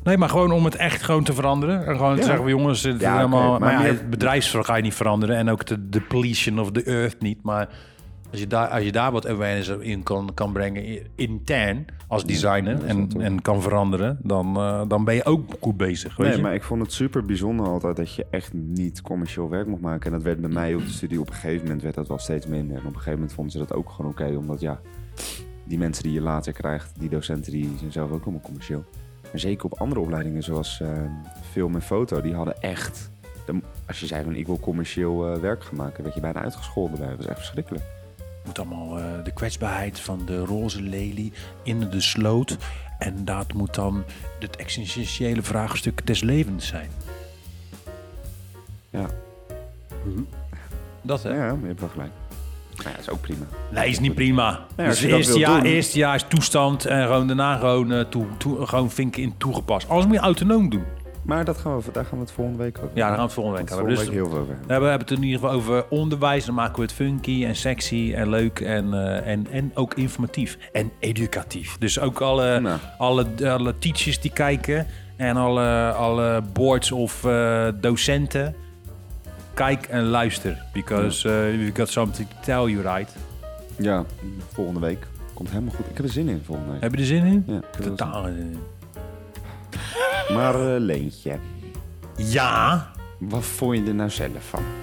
Nee, maar gewoon om het echt gewoon te veranderen. En gewoon te
Ja.
zeggen, van, jongens, het is
Ja, oké,
helemaal... maar
maar
ja,
meer-
het bedrijfsvak ga je niet veranderen. En ook de depletion of the earth niet. Maar als je daar, als je daar wat awareness in kan, kan brengen, i- intern, als designer, en, en kan veranderen, dan, eh, dan ben je ook goed bezig, weet
Nee,
je?
maar ik vond het super bijzonder altijd dat je echt niet commercieel werk mocht maken. En dat werd bij mij op de studie op een gegeven moment werd dat wel steeds minder. En op een gegeven moment vonden ze dat ook gewoon oké. omdat ja, die mensen die je later krijgt, die docenten, die zijn zelf ook allemaal commercieel. Maar zeker op andere opleidingen zoals eh, film en foto, die hadden echt... de- als je zei van ik wil commercieel eh, werk gaan maken, werd je bijna uitgescholden bij. Dat was echt verschrikkelijk.
moet allemaal eh, de kwetsbaarheid van de roze lelie in de sloot. En dat moet dan het existentiële vraagstuk des levens zijn.
Ja,
Dat hè?
ja je hebt wel gelijk. Maar ja, dat is ook prima.
Nee, is niet prima. dus
Nee, als je
het
dat
eerste
wilt
jaar,
doen.
eerste jaar is toestand en gewoon daarna gewoon, eh, toe, toe- gewoon vinken in toegepast. Alles moet je autonoom doen.
Maar dat gaan we, daar gaan we het volgende week over
Ja, daar gaan we het volgende week
hebben.
over.
Volgende
Dus
week heel veel over. hebben.
we hebben het in ieder geval over onderwijs. Dan maken we het funky en sexy en leuk en, eh, en, en ook informatief en educatief. Dus ook alle,
Nou.
alle, alle teachers die kijken en alle, alle boards of eh, docenten. Kijk en luister, because eh, we've got something to tell you, right?
Ja, volgende week. Komt helemaal goed. Ik heb er zin in volgende week.
Heb je er zin in?
Ja, ik heb er wel zin
Totaal. eh,
in. Maar eh, Leentje,
Ja.
wat vond je er nou zelf van?